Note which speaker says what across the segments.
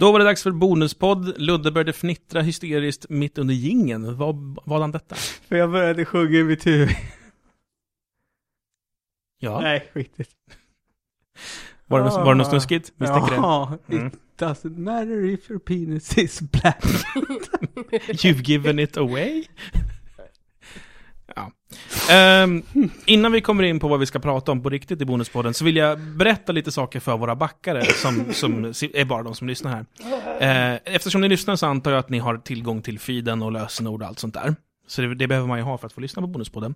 Speaker 1: Då var det dags för bonuspodd. Ludde började fnittra hysteriskt mitt under gingen. Vad var han detta?
Speaker 2: För jag började sjunga i mitt huvud.
Speaker 1: Ja,
Speaker 2: Nej, skitigt.
Speaker 1: var det, något- var det något
Speaker 2: Ah.
Speaker 1: snuskigt? Misstänker det.
Speaker 2: Ja,
Speaker 1: Mm.
Speaker 2: it doesn't matter if your penis is black.
Speaker 1: You've given it away? ja. Ehm, innan vi kommer in på vad vi ska prata om på riktigt i Bonuspodden så vill jag berätta lite saker för våra backare som, som si- är bara de som lyssnar här. Eh, eftersom ni lyssnar så antar jag att ni har tillgång till feeden och lösenord och allt sånt där. Så det, det behöver man ju ha för att få lyssna på Bonuspodden.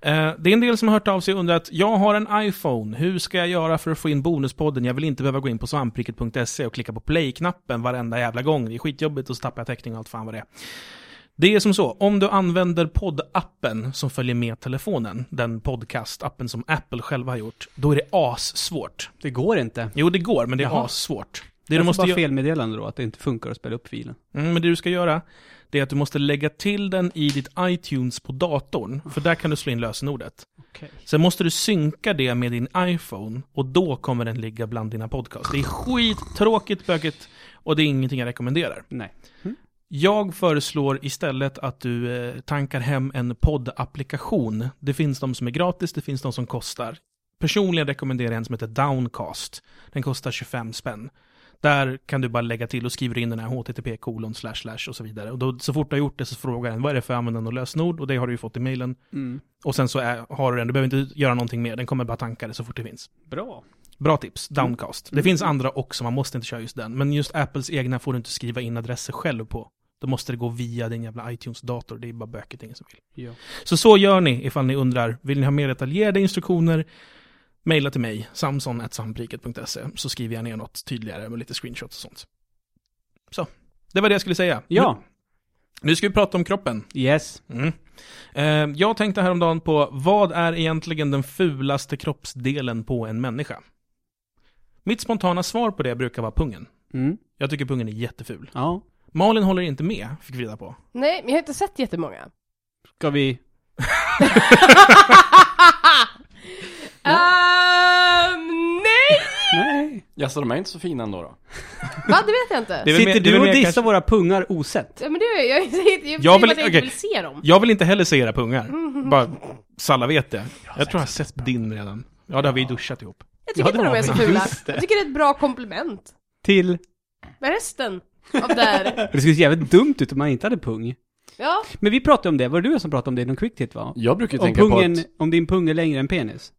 Speaker 1: Eh, det är en del som har hört av sig och undrat, jag har en iPhone, hur ska jag göra för att få in Bonuspodden? Jag vill inte behöva gå in på svampriket.se E och klicka på play-knappen varenda jävla gång. Det är skitjobbigt och så tappar jag täckning och allt fan vad det är. Det är som så, om du använder poddappen som följer med telefonen, den podcastappen som Apple själva har gjort, då är det assvårt.
Speaker 2: Det går inte.
Speaker 1: Jo, det går, men det är
Speaker 2: Jaha.
Speaker 1: assvårt. Det du
Speaker 2: Det är
Speaker 1: måste
Speaker 2: måste bara
Speaker 1: göra...
Speaker 2: felmeddelande då, att det inte funkar att spela upp filen.
Speaker 1: Mm, men det du ska göra, det är att du måste lägga till den i ditt iTunes på datorn, för där kan du slå in lösenordet.
Speaker 2: Okej.
Speaker 1: Sen måste du synka det med din iPhone, och då kommer den ligga bland dina podcasts. Det är skittråkigt, bökigt, och det är ingenting jag rekommenderar.
Speaker 2: Nej.
Speaker 1: Jag föreslår istället att du eh, tankar hem en poddapplikation. Det finns de som är gratis, det finns de som kostar. Personligen rekommenderar jag en som heter Downcast. Den kostar 25 spänn. Där kan du bara lägga till och skriva in den här http kolon slash slash och så vidare. Och då, så fort du har gjort det så frågar den vad är det för användande och lösenord och det har du ju fått i mejlen.
Speaker 2: Mm.
Speaker 1: Och sen så är, har du den, du behöver inte göra någonting mer, den kommer bara tanka det så fort det finns.
Speaker 2: Bra.
Speaker 1: Bra tips, Downcast. Det finns andra också, man måste inte köra just den. Men just Apples egna får du inte skriva in adresser själv på. Då måste det gå via din jävla iTunes-dator, det är bara böket, ingen som vill.
Speaker 2: Ja.
Speaker 1: Så så gör ni ifall ni undrar, vill ni ha mer detaljerade instruktioner? Maila till mig, samson.sampriket.se, så skriver jag ner något tydligare med lite screenshots och sånt. Så, det var det jag skulle säga.
Speaker 2: ja.
Speaker 1: Nu, nu ska vi prata om kroppen.
Speaker 2: Yes.
Speaker 1: Mm. Eh, jag tänkte häromdagen på vad är egentligen den fulaste kroppsdelen på en människa? Mitt spontana svar på det brukar vara pungen.
Speaker 2: Mm.
Speaker 1: Jag tycker pungen är jätteful.
Speaker 2: Ja.
Speaker 1: Malin håller inte med, fick vi reda på.
Speaker 3: Nej, men jag har inte sett jättemånga.
Speaker 2: Ska vi...
Speaker 3: Ehm, nej!
Speaker 2: Nej.
Speaker 4: Jaså, de är inte så fina ändå då?
Speaker 3: Va, det vet jag inte.
Speaker 1: Det är väl mer-
Speaker 2: Sitter
Speaker 1: det är
Speaker 2: du
Speaker 1: väl
Speaker 2: och
Speaker 1: mer
Speaker 2: dissar
Speaker 1: kanske-
Speaker 2: våra pungar osett?
Speaker 3: Ja, men det är jag, jag, jag, jag,
Speaker 1: Jag
Speaker 3: jag
Speaker 1: vill-
Speaker 3: vill att jag
Speaker 1: okej.
Speaker 3: inte vill se dem.
Speaker 1: Jag vill inte heller se era pungar. Bara, så alla vet det. Jag tror jag har sett din redan. Ja, det har vi duschat ihop.
Speaker 3: Jag
Speaker 2: Ja,
Speaker 3: tycker
Speaker 2: det
Speaker 3: inte de är
Speaker 2: har
Speaker 3: så
Speaker 2: vi.
Speaker 3: fula.
Speaker 2: Just det.
Speaker 3: Jag tycker det är ett bra komplement.
Speaker 2: Till...
Speaker 3: Men resten av det här.
Speaker 2: Det skulle se jävligt dumt ut om man inte hade pung.
Speaker 3: Ja,
Speaker 2: Men vi pratade om det, var det du som pratade om det i någon quick hit va?
Speaker 4: Jag brukar ju
Speaker 2: Om
Speaker 4: tänka
Speaker 2: pungen,
Speaker 4: på att...
Speaker 2: om din pung är längre än penis.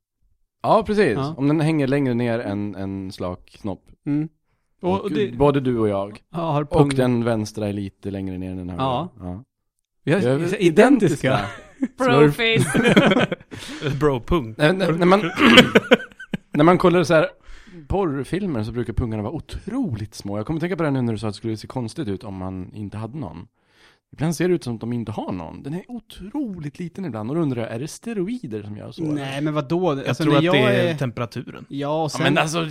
Speaker 4: Ja, precis.
Speaker 2: Ja.
Speaker 4: Om den hänger längre ner än en slak knopp.
Speaker 2: Mm. Och, och det,
Speaker 4: Både du och jag.
Speaker 2: ja, har pung...
Speaker 4: Och den vänstra är lite längre ner än den här.
Speaker 2: Ja.
Speaker 4: ja.
Speaker 2: Vi har,
Speaker 4: Jag är-
Speaker 2: identiska.
Speaker 4: Smurf.
Speaker 3: brofist.
Speaker 1: Bro, pung.
Speaker 4: Nej, nej, när, man, när man kollar så här porrfilmer så brukar pungarna vara otroligt små. Jag kommer tänka på det här nu när du sa att det skulle se konstigt ut om man inte hade någon. Ibland ser det ut som att de inte har någon. Den är otroligt liten ibland. Och då undrar jag, är det steroider som gör så?
Speaker 2: Nej men vadå? Alltså,
Speaker 1: Alltså, Jag tror att
Speaker 2: jag
Speaker 1: det är,
Speaker 2: är...
Speaker 1: temperaturen.
Speaker 2: Ja, och
Speaker 4: Ja,
Speaker 2: sen...
Speaker 4: men alltså,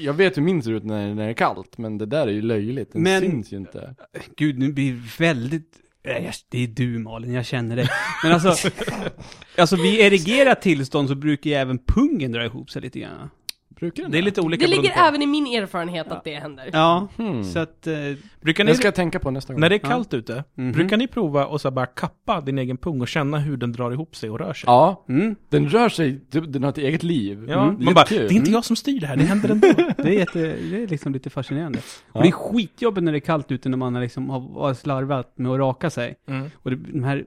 Speaker 4: jag vet hur min ser ut när, när det är kallt, men det där är ju löjligt. Den
Speaker 2: Men-
Speaker 4: syns ju inte.
Speaker 2: Gud, nu blir det väldigt... Nej, jag- Det är du Malin, jag känner dig. Men alltså, alltså vid erigerat tillstånd så brukar ju även pungen dra ihop sig lite grann.
Speaker 4: Brukar den
Speaker 1: Det är lite olika
Speaker 3: Det ligger
Speaker 1: beroende på-
Speaker 3: även i min erfarenhet att det händer.
Speaker 2: Ja,
Speaker 4: Hmm.
Speaker 2: så att... eh,
Speaker 1: Brukar ni,
Speaker 4: Det ska jag tänka på nästa gång.
Speaker 1: när det är
Speaker 2: Ja.
Speaker 1: kallt ute,
Speaker 2: Mhm.
Speaker 1: brukar ni prova och så här bara kappa din egen pung och känna hur den drar ihop sig och rör sig?
Speaker 4: Ja,
Speaker 2: Mm,
Speaker 4: den rör sig, typ, den har ett eget liv.
Speaker 1: Ja,
Speaker 4: Mm.
Speaker 1: man bara, det
Speaker 4: Jättekul.
Speaker 1: är inte jag som styr det här, det händer ändå.
Speaker 2: det är jätte, det är liksom lite fascinerande.
Speaker 4: Ja.
Speaker 2: Och det är skitjobbigt när det är kallt ute när man har liksom har- har slarvat med att raka sig.
Speaker 1: Mm.
Speaker 2: Och det, de här,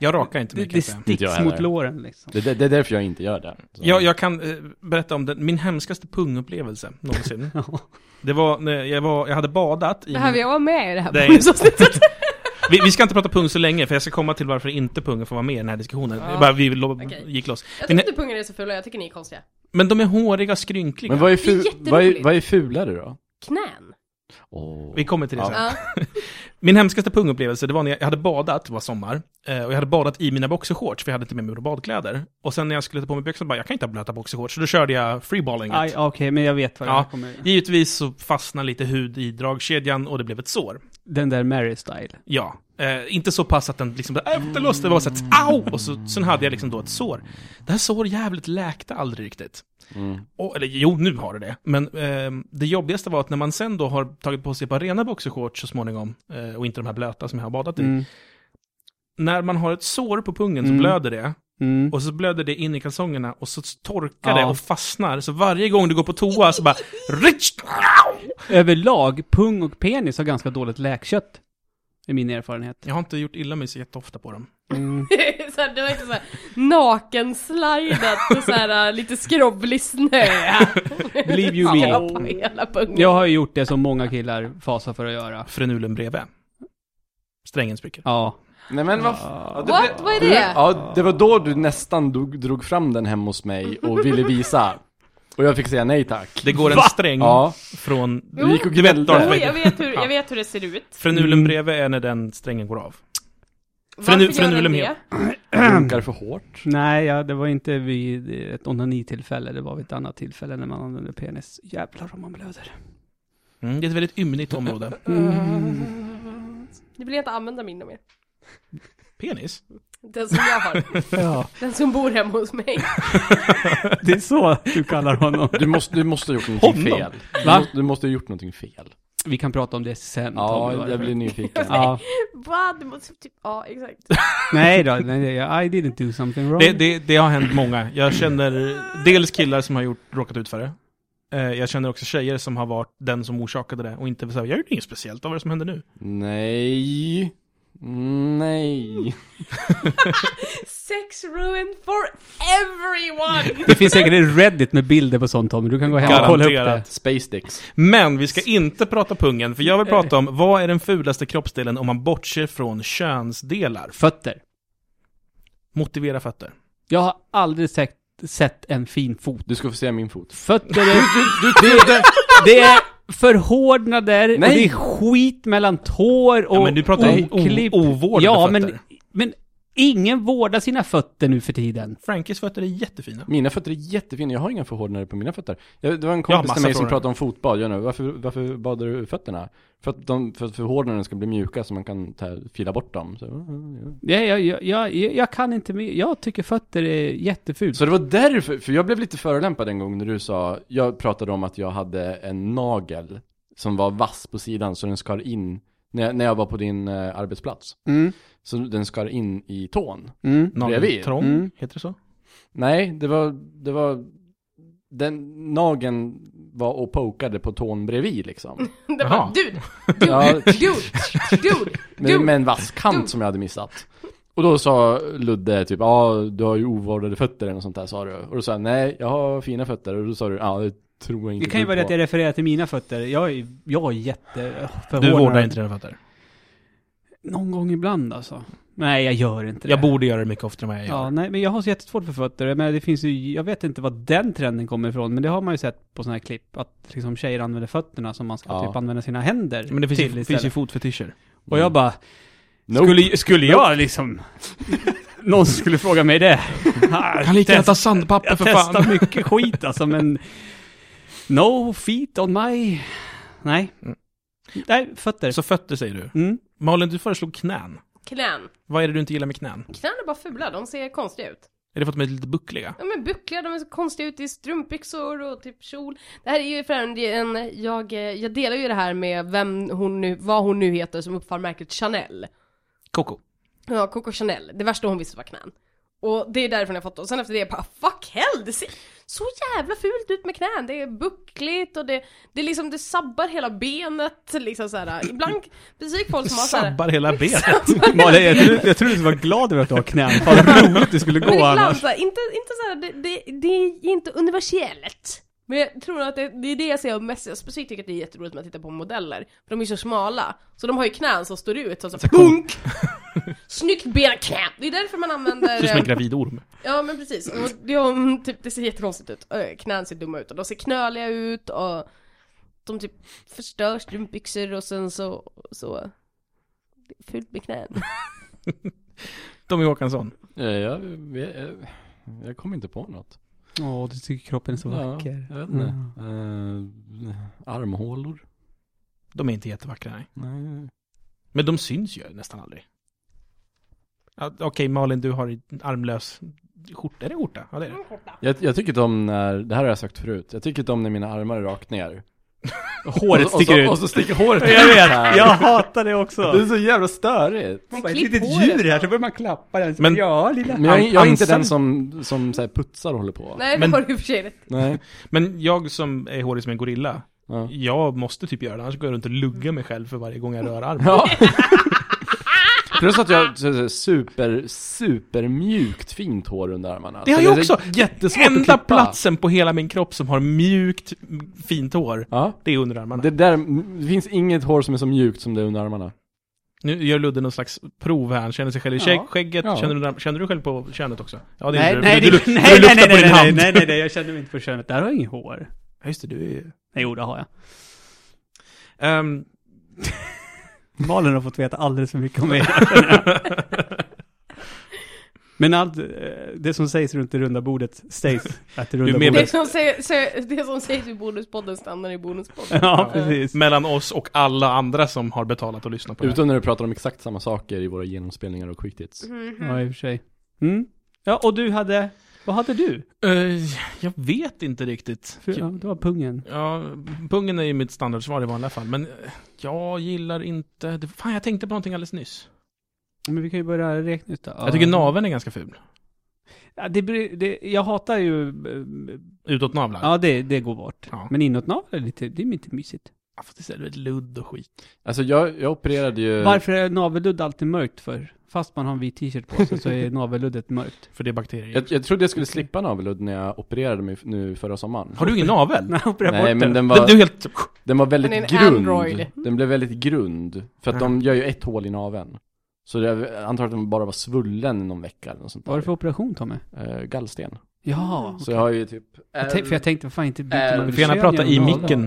Speaker 1: Jag rakar inte
Speaker 2: det,
Speaker 1: mig
Speaker 2: det
Speaker 1: kan jag säga.
Speaker 4: Inte jag
Speaker 2: sticks
Speaker 4: heller.
Speaker 2: mot låren liksom.
Speaker 4: Det, det, det är därför jag inte gör det. Så.
Speaker 1: Jag, jag kan eh, berätta om den, min hemskaste pungupplevelse någonsin.
Speaker 2: Ja.
Speaker 1: Det var när jag, var, jag hade badat i...
Speaker 3: Behöver jag vara med i det här
Speaker 1: Nej.
Speaker 3: bonusavsnittet?
Speaker 1: Vi, vi ska inte prata pung så länge, för jag ska komma till varför inte pungen får vara med i den här diskussionen.
Speaker 3: Ja.
Speaker 1: Det är Bara, vi lo-
Speaker 3: Okej.
Speaker 1: gick loss.
Speaker 3: Jag
Speaker 1: Den
Speaker 3: tycker inte pungar är så fula, jag tycker ni är konstiga.
Speaker 1: Men de är håriga, skrynkliga.
Speaker 4: Men vad är,
Speaker 3: Det är
Speaker 4: ful,
Speaker 3: jätteroligt.
Speaker 4: vad är, vad är fulare då?
Speaker 3: Knän.
Speaker 4: Åh.
Speaker 1: Vi kommer till det
Speaker 4: Ja.
Speaker 1: sen.
Speaker 3: Ja.
Speaker 1: Min hemskaste pungupplevelse, det var när jag jag hade badat, det var sommar, eh, och jag hade badat i mina boxershorts, för jag hade inte med mig några badkläder. Och sen när jag skulle ta på mig byxorna, bara, jag kan inte ha blöta boxershorts, så då körde jag freeballinget.
Speaker 2: Aj, Okej, men jag vet vad det
Speaker 1: Ja.
Speaker 2: här kommer...
Speaker 1: Givetvis så fastnade lite hud i dragkedjan och det blev ett sår.
Speaker 2: Den där Mary-style.
Speaker 1: Ja. Eh, inte så pass att den liksom bara, "Äh, det loss, det var så att au! Och så, sen hade jag liksom då ett sår. Det här sår jävligt läkte aldrig riktigt.
Speaker 4: Mm.
Speaker 1: Och, eller jo, nu har det det. Men ehm, det jobbigaste var att när man sen då har tagit på sig ett par rena boxershorts så småningom, eh, och inte de här blöta som jag har badat i.
Speaker 2: Mm.
Speaker 1: När man har ett sår på pungen så
Speaker 2: Mm.
Speaker 1: blöder det.
Speaker 2: Mm.
Speaker 1: Och så blöder det in i kalsongerna och så torkar
Speaker 2: Ja.
Speaker 1: det och fastnar. Så varje gång du går på toa så bara... Rich!
Speaker 2: Överlag, pung och penis har ganska dåligt läkkött. Är min erfarenhet.
Speaker 1: Jag har inte gjort illa mig så jätteofta på dem.
Speaker 3: så här, det var inte såhär nakenslidat och såhär lite skrovlig snö.
Speaker 2: Believe you me.
Speaker 3: Ja, på hela pungen.
Speaker 2: Jag har ju gjort det som många killar fasar för att göra.
Speaker 1: Frenulen bredvid. Strängen spricker.
Speaker 2: Ja.
Speaker 4: Nej men vad...
Speaker 3: What? Vad är det?
Speaker 4: Ja, det var då du nästan dog, drog fram den hem hos mig och ville visa. Och jag fick säga nej tack.
Speaker 1: Det går en sträng
Speaker 4: Ja,
Speaker 1: från...
Speaker 3: Jo.
Speaker 4: vi gick och
Speaker 1: Darth
Speaker 3: Jo,
Speaker 1: Vader.
Speaker 4: gnällde.
Speaker 3: jag vet hur,
Speaker 1: Ja.
Speaker 3: jag vet hur det ser ut.
Speaker 1: Frenulen
Speaker 2: Mm.
Speaker 1: bredvid är när den strängen går av.
Speaker 3: Varför
Speaker 1: nu-
Speaker 3: gör
Speaker 1: för nu
Speaker 3: den
Speaker 1: vill de
Speaker 3: det?
Speaker 1: hem.
Speaker 4: Runkar för hårt.
Speaker 2: Nej, ja, det var inte vid ett onanitillfälle, det var vid ett annat tillfälle när man använde penis. Jävlar om man blöder.
Speaker 1: Mm, det är ett väldigt ymnigt område.
Speaker 3: Nu vill jag inte använda min mer.
Speaker 1: Penis?
Speaker 3: Den som jag har.
Speaker 2: Ja,
Speaker 3: Den som bor hemma hos mig.
Speaker 2: det är så du kallar honom.
Speaker 4: Du måste, du måste ha gjort någonting
Speaker 1: Honom?
Speaker 4: fel. Du
Speaker 2: Va?
Speaker 4: måste, du måste ha gjort någonting fel.
Speaker 2: Vi kan prata om det sen. Tommy,
Speaker 4: Ja,
Speaker 2: varför.
Speaker 4: jag blir nyfiken.
Speaker 2: Ja.
Speaker 3: Va? Du måste typ, ja exakt.
Speaker 2: Nej då, nej, nej, I didn't do something wrong.
Speaker 1: Det, det, det har hänt många. Jag känner dels killar som har gjort, råkat ut för det. Eh, Jag känner också tjejer som har varit den som orsakade det och inte så här, jag gjorde inget speciellt, vad var det som hände nu?
Speaker 4: Nej. Nej.
Speaker 3: Sex ruined for everyone!
Speaker 2: Det finns säkert ett Reddit med bilder på sånt Tommy, du kan gå hem och kolla upp det.
Speaker 1: Garanterat.
Speaker 4: Space dicks.
Speaker 1: Men vi ska inte prata pungen, för jag vill prata om vad är den fulaste kroppsdelen om man bortser från könsdelar?
Speaker 2: Fötter.
Speaker 1: Motivera fötter.
Speaker 2: Jag har aldrig sett, sett en fin fot.
Speaker 4: Du ska få se min fot.
Speaker 2: Fötter är... det, det är förhårdnader och
Speaker 4: Nej.
Speaker 2: det är skit mellan tår och
Speaker 1: Ja, men du pratar om o-
Speaker 2: oklipp.
Speaker 1: ovårdade
Speaker 2: ja,
Speaker 1: fötter.
Speaker 2: Men, men ingen vårdar sina fötter nu för tiden.
Speaker 1: Frankies fötter är jättefina.
Speaker 4: Mina fötter är jättefina, jag har inga förhårdnader på mina fötter. Jag, det var en
Speaker 1: Jag har
Speaker 4: kompis
Speaker 1: massa
Speaker 4: till mig som
Speaker 1: frågor.
Speaker 4: pratade om fotbad, jag nu, varför, varför badar du fötterna? För att, de, för att förhårdnaderna ska bli mjuka så man kan ta, fila bort dem. Så,
Speaker 2: Jag, jag, jag, jag, jag kan inte mer. Jag tycker fötter är jättefult.
Speaker 4: så det var därför, för jag blev lite förolämpad en gång när du sa, jag pratade om att jag hade en nagel som var vass på sidan så den skar in, när jag, när jag var på din eh, arbetsplats,
Speaker 2: Mm,
Speaker 4: så den skar in i tån.
Speaker 2: mm.
Speaker 4: Bredvid.
Speaker 1: Nageltrång,
Speaker 2: Mm.
Speaker 1: heter det så?
Speaker 4: Nej, det var, det var, den nageln var och pokade på tån bredvid liksom.
Speaker 3: Det
Speaker 1: Jaha.
Speaker 3: var, dude,
Speaker 4: Ja,
Speaker 3: dude, dude,
Speaker 4: Med,
Speaker 3: dude.
Speaker 4: med en vasskant som jag hade missat. Och då sa Ludde typ, ja du har ju ovårdade fötter eller något sånt där sa du. Och då sa jag, nej jag har fina fötter. Och då sa du, ja det tror jag inte
Speaker 2: Det kan ju
Speaker 4: du
Speaker 2: vara det
Speaker 4: på."
Speaker 2: att jag refererar till mina fötter. Jag är, jag är jätte...
Speaker 1: Du vårdar inte dina fötter.
Speaker 2: Någon gång ibland alltså. Nej, jag gör inte det.
Speaker 1: Jag borde göra det mycket oftare än vad jag gör.
Speaker 2: Ja, nej, men jag har så jättesvårt för fötter. Men det finns ju, jag vet inte vad den trenden kommer ifrån, men det har man ju sett på såna här klipp, att liksom tjejer använder fötterna som man ska
Speaker 4: Ja.
Speaker 2: typ använda sina händer
Speaker 1: Men det finns
Speaker 2: till
Speaker 1: ju,
Speaker 2: istället.
Speaker 1: finns ju fotfetischer.
Speaker 2: Och jag bara,
Speaker 4: Nope.
Speaker 2: skulle, skulle jag liksom... Någon skulle fråga mig det.
Speaker 1: Kan lika gärna ta
Speaker 2: Test-
Speaker 1: sandpapper
Speaker 2: jag
Speaker 1: för fan.
Speaker 2: testar mycket skit alltså, men... No feet on my... Nej.
Speaker 1: Mm.
Speaker 2: Nej, fötter.
Speaker 1: Så fötter säger du.
Speaker 2: Mm.
Speaker 1: Malin, du föreslog knän.
Speaker 3: Knän.
Speaker 1: Vad är det du inte gillar med knän?
Speaker 3: Knän är bara fula, de ser konstiga ut.
Speaker 1: Är det för att de är lite buckliga?
Speaker 3: De är buckliga, de är så konstiga ut i strumpbyxor och typ kjol. Det här är ju för en, en- jag, eh, jag delar ju det här med vem hon nu, vad hon nu heter som uppfann märket Chanel.
Speaker 1: Koko.
Speaker 3: Ja, Coco Chanel. Det värsta hon visste var knän. Och det är därifrån jag fått det. Och sen efter det, jag bara fuck hell, det ser så jävla fult ut med knän. Det är buckligt och det, det är liksom, det sabbar hela benet liksom såhär. Ibland, precis folk som har såhär.
Speaker 1: Sabbar hela benet.
Speaker 2: Malin, jag trodde jag trodde du skulle vara glad över att du har knän. Fan vad roligt det skulle gå
Speaker 3: Men ibland
Speaker 2: annars.
Speaker 3: såhär, inte, inte såhär, det, det, det är inte universellt. Men jag tror att det, det är det jag ser mest, jag specifikt tycker att det är jätteroligt när jag tittar på modeller. För de är så smala. Så de har ju knän som står ut, så, så, bunk! Snyggt ben, knä! Det är därför man använder...
Speaker 1: Ser ut som en
Speaker 3: eh,
Speaker 1: gravid orm.
Speaker 3: Ja men precis, och det, är- typ, det ser jättekonstigt ut. Ö, Knän ser dumma ut och de ser knöliga ut och de typ förstör strumpbyxor och sen så, så det är fult med knän.
Speaker 1: Tommy Håkansson.
Speaker 4: Eh, Jag, jag, jag, jag kom inte på något.
Speaker 2: Åh, du tycker kroppen är så vacker.
Speaker 4: Ja, jag vet inte.
Speaker 2: Mm.
Speaker 4: Eh, armhålor?
Speaker 1: De är inte jättevackra, nej.
Speaker 4: Nej.
Speaker 1: Men de syns ju nästan aldrig. Ja, Okej, Malin, du har en armlös skjorta. Är det skjorta? Ja, det är det.
Speaker 4: Jag, jag tycker inte om när, det här har jag sagt förut, jag tycker inte om när mina armar är rakt ner. Håret
Speaker 2: sticker
Speaker 4: och så,
Speaker 2: ut.
Speaker 4: Och så sticker håret ut.
Speaker 2: Jag
Speaker 4: så
Speaker 2: vet,
Speaker 4: här.
Speaker 2: jag hatar det
Speaker 4: Det är
Speaker 2: också.
Speaker 4: så jävla störigt.
Speaker 2: Man
Speaker 3: Men
Speaker 2: bara, ett
Speaker 3: klipp
Speaker 2: litet
Speaker 3: håret
Speaker 2: djur här,
Speaker 3: då.
Speaker 2: så börjar man klappa den. Så,
Speaker 1: Men-
Speaker 2: ja, lilla
Speaker 4: Men jag, jag är inte
Speaker 1: Ansan.
Speaker 4: den som, som så här putsar och håller på.
Speaker 3: Nej, det
Speaker 1: Men-
Speaker 3: har du i och för sig rätt.
Speaker 4: Nej.
Speaker 1: Men jag som är hårig som en gorilla,
Speaker 4: Ja.
Speaker 1: jag måste typ göra det. Annars går jag runt och luggar mig själv för varje gång jag rör armen.
Speaker 4: Ja. Plus att jag har så- så super, super mjukt fint hår under armarna.
Speaker 1: Det har
Speaker 4: Så
Speaker 1: jag
Speaker 4: är
Speaker 2: Alltså,
Speaker 1: också.
Speaker 4: Jättesvårt att
Speaker 1: Enda
Speaker 4: klippa.
Speaker 1: platsen på hela min kropp som har mjukt, m- fint hår,
Speaker 4: Ja.
Speaker 1: det är underarmarna.
Speaker 4: Det, där, det finns inget hår som är så mjukt som det under armarna.
Speaker 1: Nu gör Ludde någon slags prov här. Han känner sig själv i
Speaker 2: Ja.
Speaker 1: skägg- skägget.
Speaker 4: Ja.
Speaker 1: Känner, du, känner du själv på könet också? Ja,
Speaker 2: Nej,
Speaker 1: gjorde
Speaker 2: nej,
Speaker 1: du, du,
Speaker 2: det-
Speaker 1: du,
Speaker 2: nej,
Speaker 1: du
Speaker 2: nej,
Speaker 1: luktar
Speaker 2: nej,
Speaker 1: på din
Speaker 2: nej, nej,
Speaker 1: hand.
Speaker 2: nej, nej, nej, jag känner mig inte för könet. Där har jag inget hår.
Speaker 1: Ja, just det, du är ju...
Speaker 2: Nej, jo, det har jag.
Speaker 1: Ehm,
Speaker 2: Malin har fått veta alldeles för mycket om mig. Men allt eh, det som sägs runt det runda bordet sägs att det runda
Speaker 1: med-
Speaker 2: bordet...
Speaker 3: Det som, säger, säger, det som sägs i bonuspodden stannar i bonuspodden.
Speaker 2: Ja, precis.
Speaker 1: mellan oss och alla andra som har betalat och lyssnat på det här.
Speaker 4: Utom när du pratar om exakt samma saker i våra genomspelningar och quick hits.
Speaker 3: Mhm.
Speaker 2: Ja, i och för sig. Mm. Ja, och du hade... Vad hade du?
Speaker 1: Eh, jag vet inte riktigt. Typ-
Speaker 2: För, ja, det var pungen.
Speaker 1: Ja, pungen är ju mitt standardsvar i vanliga fall, men eh, jag gillar inte... Det, fan, jag tänkte på någonting alldeles nyss.
Speaker 2: Men vi kan ju börja räkna ut det. Ja.
Speaker 1: Jag tycker naveln är ganska ful.
Speaker 2: Ja, det, bry- det, jag hatar ju... eh,
Speaker 1: Utåtnavlar. Ja.
Speaker 2: Ja, det, det går bort.
Speaker 1: Ja.
Speaker 2: Men inåtnavel är lite, det är inte mysigt.
Speaker 1: Ah, Fast det ser väldigt ludd och skit.
Speaker 4: Alltså jag, jag opererade ju...
Speaker 2: Varför är navelludd alltid mörkt för? Fast man har en vit t-shirt på sig så är navelluddet mörkt.
Speaker 1: För det är bakterier.
Speaker 4: Jag, jag trodde jag skulle slippa navelludd när jag opererade mig f- nu förra sommaren.
Speaker 1: Har du ingen navel?
Speaker 2: Nej, operera
Speaker 4: Nej,
Speaker 2: bort
Speaker 4: men
Speaker 2: det.
Speaker 4: den
Speaker 1: Du,
Speaker 4: var,
Speaker 1: du är helt...
Speaker 4: den var väldigt
Speaker 3: Den är en
Speaker 4: grund.
Speaker 3: Android.
Speaker 4: Den blev väldigt grund. För att
Speaker 1: Mm.
Speaker 4: de gör ju ett hål i naveln. Så det, antar att den bara var svullen i någon vecka eller något sånt
Speaker 2: Vad var det för
Speaker 4: där.
Speaker 2: operation, Tommy?
Speaker 4: Eh, gallsten.
Speaker 2: Ja.
Speaker 4: Så jag har ju typ...
Speaker 2: Jag tänk, för jag tänkte, fan inte
Speaker 4: Äh,
Speaker 2: byta
Speaker 1: Du får gärna prata i micken.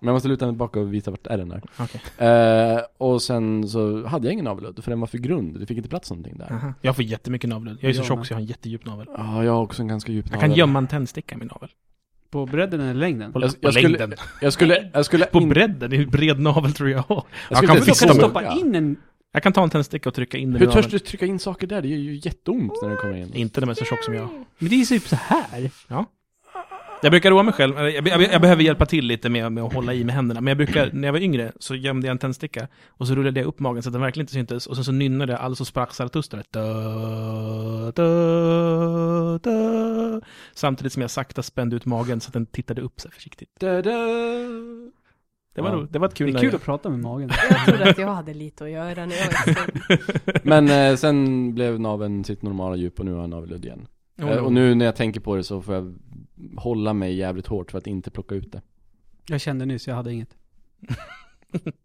Speaker 4: Men jag måste luta mig tillbaka och visa vart är den är.
Speaker 1: Okej.
Speaker 4: Eh, och sen så hade jag ingen navelludd, för den var för grund. Det fick inte plats någonting där.
Speaker 1: Aha. Jag får jättemycket navelludd. Jag är så
Speaker 2: Jag
Speaker 1: tjock
Speaker 2: med.
Speaker 1: så jag har en jättedjup navel.
Speaker 4: Ja, jag har också en ganska djup
Speaker 1: Jag kan
Speaker 4: navel.
Speaker 1: gömma en tändsticka i min navel.
Speaker 2: På bredden eller längden?
Speaker 1: På,
Speaker 4: Jag-
Speaker 1: på
Speaker 4: jag skulle-
Speaker 1: längden.
Speaker 4: Jag skulle, jag skulle
Speaker 1: På
Speaker 4: in-
Speaker 1: bredden? Hur bred navel tror jag har?
Speaker 4: Jag skulle
Speaker 1: kan
Speaker 4: inte
Speaker 2: Du
Speaker 1: fixa
Speaker 2: kan
Speaker 1: Sista
Speaker 2: stoppa in en...
Speaker 1: Jag kan ta en tändsticka och trycka in den
Speaker 4: Hur
Speaker 1: i
Speaker 4: törs
Speaker 1: naveln.
Speaker 4: du trycka in saker där? Det gör ju jätteont när den kommer in.
Speaker 1: Inte när man är så tjock som jag.
Speaker 2: Men det är ju typ så här.
Speaker 1: Jag brukar roa mig själv. Jag, jag, jag behöver hjälpa till lite med, med att hålla i med händerna. Men jag brukar, när jag var yngre, så gömde jag en tändsticka. Och så rullade jag upp magen så att den verkligen inte syntes. Och sen så nynnade jag Alltså sprack Zarathustra. Da, da, da. Samtidigt som jag sakta spände ut magen så att den tittade upp så här försiktigt. Det var,
Speaker 4: Ja.
Speaker 1: ro- det var ett kul
Speaker 2: Det är
Speaker 1: läge.
Speaker 2: kul att prata med magen.
Speaker 3: Jag trodde att jag hade lite att göra när jag var så-
Speaker 4: Men eh, sen blev naveln sitt normala djup och nu har jag navelludd igen.
Speaker 1: Jo,
Speaker 4: Eh,
Speaker 1: jo.
Speaker 4: och nu när jag tänker på det så får jag hålla mig jävligt hårt för att inte plocka ut det.
Speaker 2: Jag kände nyss, jag hade inget.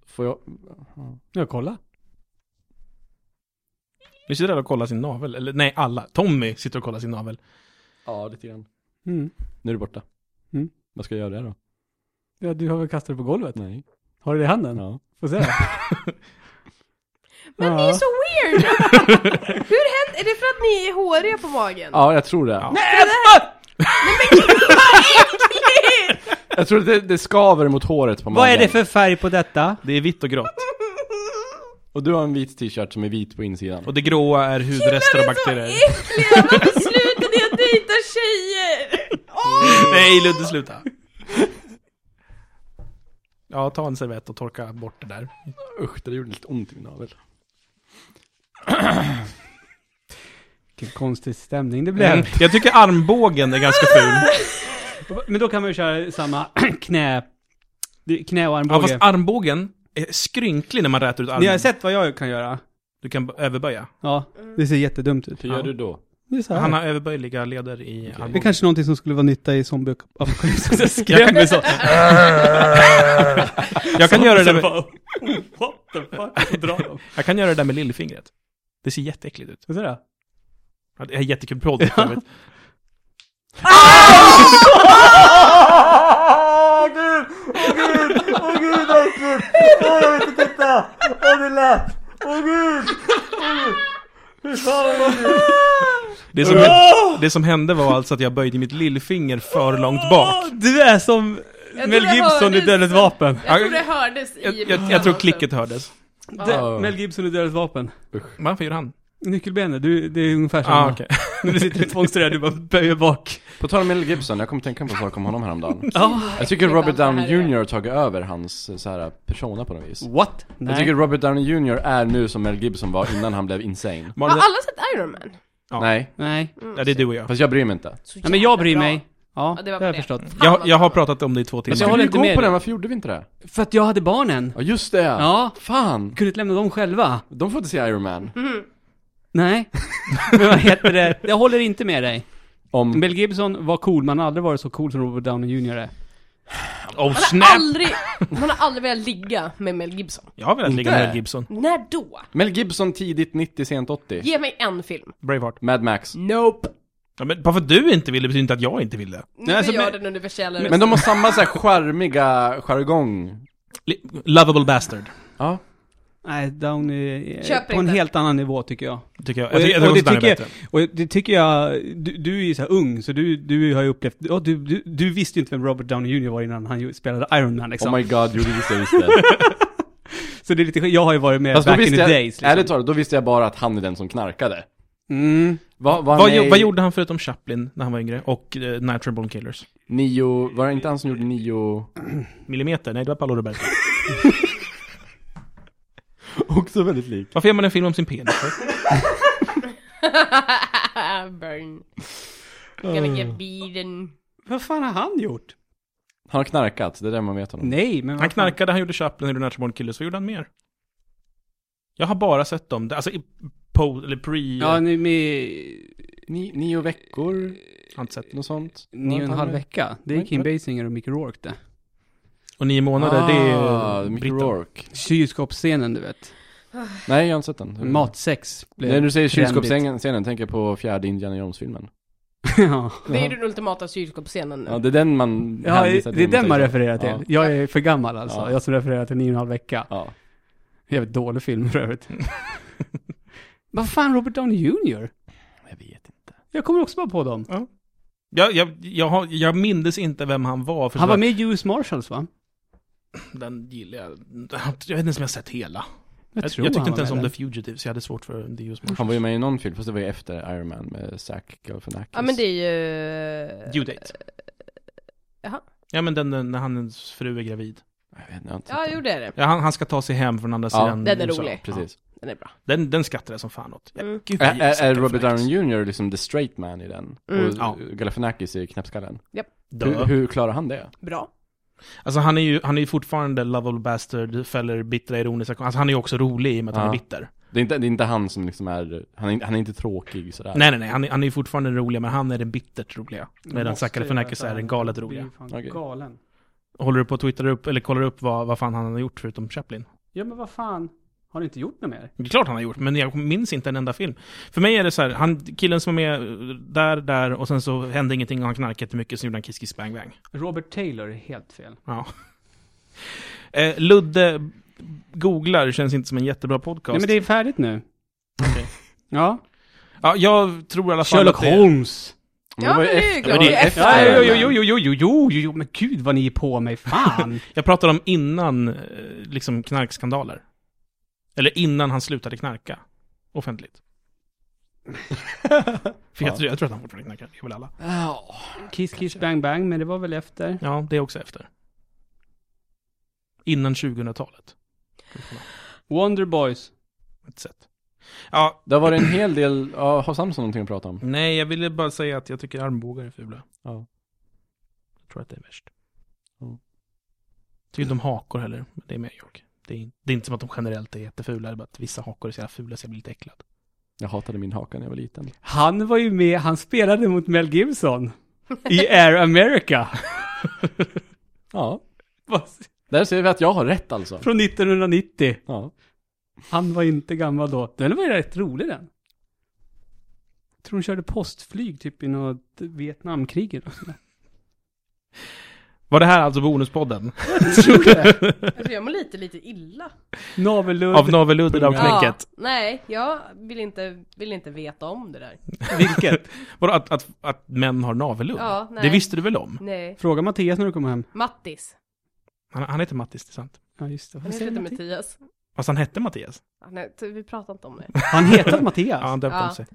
Speaker 4: Får jag?
Speaker 2: Jag kolla.
Speaker 1: Nu sitter alla och kollar sin navel. Eller nej, alla. Tommy sitter och kollar sin navel.
Speaker 4: Ja, lite grann.
Speaker 2: Mm.
Speaker 4: Nu är det borta.
Speaker 2: Mm.
Speaker 4: Vad ska jag göra då?
Speaker 2: Ja, du har väl kastat det på golvet?
Speaker 4: Nej.
Speaker 2: Har du det i handen?
Speaker 4: Ja.
Speaker 2: Får se.
Speaker 3: Men det är
Speaker 2: Ja.
Speaker 3: ju så weird! Hur händer, är det för att ni är håriga på magen?
Speaker 4: ja, jag tror det.
Speaker 1: Ja.
Speaker 4: Jag tror att det, det skaver mot håret på magen.
Speaker 2: Vad är det för färg på detta?
Speaker 1: Det är vitt och grått.
Speaker 4: Och du har en vit t-shirt som är vit på insidan.
Speaker 1: Och det gråa är hudrester och
Speaker 3: Så
Speaker 1: bakterier.
Speaker 3: äckliga! Varför slutade jag dejta tjejer? Åh!
Speaker 1: Nej Ludde, sluta! Ja, ta en servett och torka bort det där.
Speaker 4: Usch, det gjorde lite ont i min navel.
Speaker 2: Vilken konstig stämning det blev.
Speaker 1: Mm. Jag tycker armbågen är ganska ful.
Speaker 2: Men då kan man ju köra samma knä... Knä och
Speaker 1: Ja,
Speaker 2: armbåge.
Speaker 1: fast armbågen är skrynklig när man rätar ut
Speaker 2: Ni har
Speaker 1: armen.
Speaker 2: sett vad jag kan göra?
Speaker 1: Du kan b- överböja.
Speaker 2: Ja, det ser jättedumt ut.
Speaker 4: Hur gör du då?
Speaker 2: Det är så
Speaker 1: Han
Speaker 2: här.
Speaker 1: har överböjliga leder i
Speaker 2: Det är
Speaker 1: armbågen.
Speaker 2: kanske är någonting som skulle vara nytta i zombieapokalypsen.
Speaker 1: Jag kan, jag, kan göra det med,
Speaker 2: What the fuck? Och dra dem.
Speaker 1: jag kan göra det där med lillfingret. Det ser jätteäckligt ut.
Speaker 2: Vad säger du?
Speaker 1: Ja, Det är jättekul podd. för övrigt.
Speaker 5: Ah, Åh gud! Åh gud! Åh gud vad äckligt! Åh jag vill inte titta! Åh det lät! Åh gud!
Speaker 1: Det som, det som hände var alltså att jag böjde mitt lillfinger för långt bak.
Speaker 2: Du är som
Speaker 3: Jag
Speaker 2: Mel
Speaker 3: tror jag
Speaker 2: Gibson i
Speaker 3: hörde-
Speaker 2: Dödligt vapen.
Speaker 3: Jag tror det hördes i... alltså.
Speaker 1: Jag, jag, jag tror klicket hördes.
Speaker 2: Det- Mel Gibson i Dödligt vapen.
Speaker 1: Varför gör han?
Speaker 2: Nyckelbenet, du, det är ungefär samma.
Speaker 1: Ah, okej.
Speaker 2: När du sitter i ett fångster där, du bara böjer bak.
Speaker 4: På tal om Mel Gibson, jag kommer tänka på en sak om honom häromdagen.
Speaker 2: Ja.
Speaker 4: Jag tycker Robert Downey
Speaker 3: Det här är-
Speaker 4: Jr. har tagit över hans eh, så här, persona på något vis.
Speaker 2: What? Nej.
Speaker 4: Jag tycker Robert Downey Jr. är nu som Mel Gibson var innan han blev insane.
Speaker 1: Malin,
Speaker 3: Har alla sett Iron Man?
Speaker 1: Ja.
Speaker 4: Nej,
Speaker 2: Nej.
Speaker 1: ja, det är du och jag.
Speaker 4: fast jag bryr mig inte.
Speaker 3: Så
Speaker 2: Nej, men jag bryr
Speaker 3: jävla bra.
Speaker 2: mig. Ja,
Speaker 3: Ja,
Speaker 2: det
Speaker 3: det var
Speaker 2: har jag
Speaker 3: det.
Speaker 2: förstått.
Speaker 1: jag. Jag har pratat om det i två
Speaker 4: Men
Speaker 1: timmar.
Speaker 4: jag
Speaker 2: håller
Speaker 4: håller
Speaker 2: inte
Speaker 4: inte gå
Speaker 2: med
Speaker 4: på
Speaker 2: dig.
Speaker 4: den, varför gjorde vi inte det?
Speaker 2: För att jag hade barnen.
Speaker 4: Ja just det!
Speaker 2: Ja. Mm.
Speaker 4: Fan!
Speaker 2: Kunde inte lämna dem själva.
Speaker 4: De får inte se Iron Man.
Speaker 2: Nej. Men vad heter det? Jag håller inte med dig.
Speaker 4: Om...
Speaker 2: Mel Gibson var cool, men han har aldrig varit så cool som Robert Downey Jr. är.
Speaker 1: Oh
Speaker 3: Man
Speaker 1: snap!
Speaker 3: har, aldrig, man har aldrig velat ligga med Mel Gibson.
Speaker 1: Jag har velat
Speaker 4: Inte.
Speaker 1: ligga med Mel Gibson.
Speaker 3: När då?
Speaker 4: Mel Gibson tidigt 90, sent 80.
Speaker 3: Ge mig en film.
Speaker 1: Braveheart.
Speaker 4: Mad Max.
Speaker 3: Nope.
Speaker 1: Ja, men bara för att du inte ville betyder inte att jag inte ville.
Speaker 3: Nu
Speaker 2: alltså,
Speaker 3: är jag
Speaker 2: men-
Speaker 3: den universella
Speaker 4: Men de har samma så här charmiga jargong.
Speaker 1: Li- Lovable bastard,
Speaker 4: Ja.
Speaker 2: Nej, Downey är
Speaker 3: Köper
Speaker 2: på en
Speaker 3: inte.
Speaker 2: helt annan nivå tycker jag.
Speaker 1: tycker jag.
Speaker 2: Och,
Speaker 1: Jag, tycker- jag,
Speaker 2: och,
Speaker 1: tycker
Speaker 2: det
Speaker 1: Rosedanne
Speaker 2: tycker
Speaker 1: är
Speaker 2: jag,
Speaker 1: bättre.
Speaker 2: och det tycker jag, du, du är ju så här ung, så du, du har ju upplevt, ja du, du, du visste ju inte vem Robert Downey Jr var innan han ju spelade Iron Man liksom.
Speaker 4: Oh my god, gjorde visst det, visst det.
Speaker 2: så det är lite, sk- jag har ju varit med
Speaker 4: Fast då
Speaker 2: back in
Speaker 4: visste
Speaker 2: the
Speaker 4: jag,
Speaker 2: days liksom.
Speaker 4: ärligt talat, då visste jag bara att han är den som knarkade.
Speaker 2: Mm.
Speaker 4: Vad, var
Speaker 1: Vad,
Speaker 4: han
Speaker 1: gjo-
Speaker 4: med
Speaker 1: vad
Speaker 4: i
Speaker 1: gjorde han förutom Chaplin när han var yngre? Och eh, Natural Born Killers?
Speaker 4: Nio, var det inte han som gjorde nio?
Speaker 1: Millimeter? Nej, det var Paolo Roberto.
Speaker 4: Också väldigt lik.
Speaker 1: Varför gör man en film om sin penis? för?
Speaker 3: Burn. Gonna get beaten.
Speaker 2: Vad fan har han gjort?
Speaker 4: Han har knarkat, det är det man vet honom.
Speaker 2: Nej, men vad
Speaker 1: Han
Speaker 2: fan-
Speaker 1: knarkade, han gjorde Chaplin, han gjorde Natural Born Killers. Vad gjorde han mer? Jag har bara sett dem, alltså i po, eller pre...
Speaker 2: Ja,
Speaker 1: Ja,
Speaker 2: nu med
Speaker 4: Ni, nio veckor,
Speaker 1: har inte sett.
Speaker 4: något sånt.
Speaker 2: nio och en halv vecka. Det är
Speaker 4: Nej,
Speaker 2: Kim
Speaker 4: vad-
Speaker 2: Basinger och Mick Rourke det.
Speaker 1: Och nio månader,
Speaker 4: ah,
Speaker 1: det
Speaker 4: det
Speaker 1: är...
Speaker 4: är Mickey
Speaker 1: britten.
Speaker 4: Rourke.
Speaker 2: Kylskåpsscenen du vet.
Speaker 4: Nej, jag har inte sett
Speaker 2: Mm.
Speaker 4: den.
Speaker 2: Matsex blev
Speaker 4: När du säger
Speaker 2: trendigt.
Speaker 4: kylskåpsscenen scenen, tänker jag på fjärde Indiana Jones-filmen.
Speaker 2: ja,
Speaker 3: Det är den ultimata kylskåpsscenen nu.
Speaker 4: Ja, det är den man
Speaker 2: ja det
Speaker 4: hänvisar till
Speaker 2: är
Speaker 4: när
Speaker 2: den man
Speaker 4: säger-
Speaker 2: refererar till. Jag är för gammal alltså.
Speaker 4: Ja.
Speaker 2: Jag som refererar till nio och en halv vecka.
Speaker 4: Ja.
Speaker 2: Jävligt dålig film för övrigt. Vad fan Robert Downey Jr?
Speaker 4: Jag vet inte.
Speaker 2: Jag kommer också bara på dem.
Speaker 1: Jag, jag, jag, har, jag mindes inte vem han var. För
Speaker 2: Han
Speaker 1: så
Speaker 2: var
Speaker 1: bara,
Speaker 2: med i US Marshals va?
Speaker 1: Den gillar jag. Jag vet inte ens om jag har sett hela. Jag,
Speaker 2: Jag,
Speaker 1: jag,
Speaker 2: tror
Speaker 1: tyckte
Speaker 2: han
Speaker 1: inte
Speaker 2: var
Speaker 1: ens om
Speaker 2: med
Speaker 1: The
Speaker 2: där.
Speaker 1: Fugitive, så jag hade svårt för The Used
Speaker 4: Han var ju med i någon film, fast det var ju efter Iron Man med Zach Galifianakis.
Speaker 3: Ja men det är ju...
Speaker 1: Due date.
Speaker 3: Jaha.
Speaker 1: Ja men den, den när hans fru är gravid.
Speaker 4: Jag vet inte, jag
Speaker 3: Ja
Speaker 4: har inte sett
Speaker 3: jo
Speaker 4: den.
Speaker 3: det är det.
Speaker 1: Ja, han, han ska ta sig hem från andra
Speaker 4: Ja.
Speaker 1: sidan
Speaker 3: Den är
Speaker 1: USA.
Speaker 3: rolig.
Speaker 4: Precis.
Speaker 3: Den är bra.
Speaker 1: Den, den skrattade jag som fan åt. Ja,
Speaker 3: Mm.
Speaker 1: gud, vad
Speaker 4: Är,
Speaker 1: gillar
Speaker 4: är, är
Speaker 1: Zac
Speaker 4: Robert
Speaker 1: Galifianakis.
Speaker 4: Downey Jr. liksom the straight man i den?
Speaker 3: Mm.
Speaker 4: Och
Speaker 1: Ja.
Speaker 4: Galifianakis är knäppskallen. Hur,
Speaker 1: Dö.
Speaker 4: hur klarar han det?
Speaker 3: Bra.
Speaker 1: Alltså han är ju han är ju fortfarande lovable bastard, fäller bittra ironiska Alltså han är ju också rolig i och med att han är
Speaker 4: Ja.
Speaker 1: bitter.
Speaker 4: Det är inte, det är inte han som liksom är, han är, inte- han är inte tråkig sådär.
Speaker 1: Nej nej nej, han är, han är ju fortfarande den roliga, men han är den bittert roliga. Medan
Speaker 2: Måste
Speaker 1: Zac Galifianakis
Speaker 2: göra
Speaker 1: är
Speaker 2: det.
Speaker 1: den galet
Speaker 2: Han blir
Speaker 1: roliga.
Speaker 2: fan
Speaker 4: Okej.
Speaker 2: Galen.
Speaker 1: Håller du på att twittra upp, eller kollar upp vad, vad fan han har gjort förutom Chaplin?
Speaker 2: Ja men vad fan. Har ni inte gjort något mer?
Speaker 1: Det är klart han har gjort, men jag minns inte en enda film. För mig är det så här, han, killen som är med eh, där, där och sen så hände ingenting och han knarkade jättemycket, så gjorde han Kiss Kiss Bang Bang.
Speaker 2: Robert Taylor är helt fel.
Speaker 1: Ja. Eh, Ludde googlar, känns inte som en jättebra podcast.
Speaker 2: Nej men det är färdigt nu. Ja.
Speaker 1: ja, jag tror i alla fall
Speaker 2: Sherlock
Speaker 1: att det...
Speaker 2: Holmes.
Speaker 4: Men
Speaker 3: Ja,
Speaker 4: det var ju
Speaker 3: men det är
Speaker 4: efter-
Speaker 3: klart.
Speaker 4: var ju
Speaker 1: Ja,
Speaker 2: Ja,
Speaker 4: efter Iron
Speaker 2: jo,
Speaker 4: Man.
Speaker 2: jo, jo, jo, jo, jo, jo, jo, men gud vad ni är på mig, fan.
Speaker 1: Jag pratar om innan eh, liksom knarkskandaler. Eller innan han slutade knarka. Offentligt. För jag,
Speaker 4: Ja.
Speaker 1: tror, jag tror att han fortfarande knarkar, det är väl alla.
Speaker 4: Ja.
Speaker 2: Kiss Kiss Bang Bang, men det var väl efter?
Speaker 1: Ja, det är också efter. Innan 2000-talet.
Speaker 2: Wonder Boys.
Speaker 1: Ett sätt. Ja,
Speaker 4: Det har varit en hel del, ja, har Samson någonting att prata om?
Speaker 1: nej, jag ville bara säga att jag tycker armbågar är fula.
Speaker 4: Ja.
Speaker 1: Jag tror att det är värst.
Speaker 4: Ja.
Speaker 1: Tycker inte om hakor heller, men det är mer jag. Det är, in- det är inte som att de generellt är jättefula, det är bara att vissa hakor är så jävla fula så jag blir lite äcklad.
Speaker 4: Jag hatade min haka när jag var liten.
Speaker 2: Han var ju med, han spelade mot Mel Gibson i Air America.
Speaker 4: Ja.
Speaker 2: Vad-
Speaker 4: Där ser vi att jag har rätt alltså.
Speaker 2: Från 1990.
Speaker 4: Ja.
Speaker 2: Han var inte gammal då. Den var ju rätt rolig den. Jag tror de körde postflyg typ i något Vietnamkrig eller något sånt där.
Speaker 1: Var det här alltså bonuspodden?
Speaker 3: Alltså jag mår lite, lite illa.
Speaker 2: Navelludd.
Speaker 1: Av Naveludden av knäcket?
Speaker 3: nej, jag vill inte, vill inte veta om det där.
Speaker 2: Vilket?
Speaker 1: Vadå, att, att, att män har navelludd?
Speaker 3: Ja, nej.
Speaker 1: det visste du väl om?
Speaker 3: Nej.
Speaker 2: Fråga Mattias när du kommer hem.
Speaker 3: Mattis.
Speaker 1: Han, han heter Mattis, det är sant.
Speaker 2: Ja, just det.
Speaker 3: Han heter inte Mattias.
Speaker 1: Fast han hette Mattias.
Speaker 3: Ja, Nej, t- vi pratar inte om det.
Speaker 2: Han heter Mattias.
Speaker 1: Ja, han döpte
Speaker 3: Ja.
Speaker 1: om sig.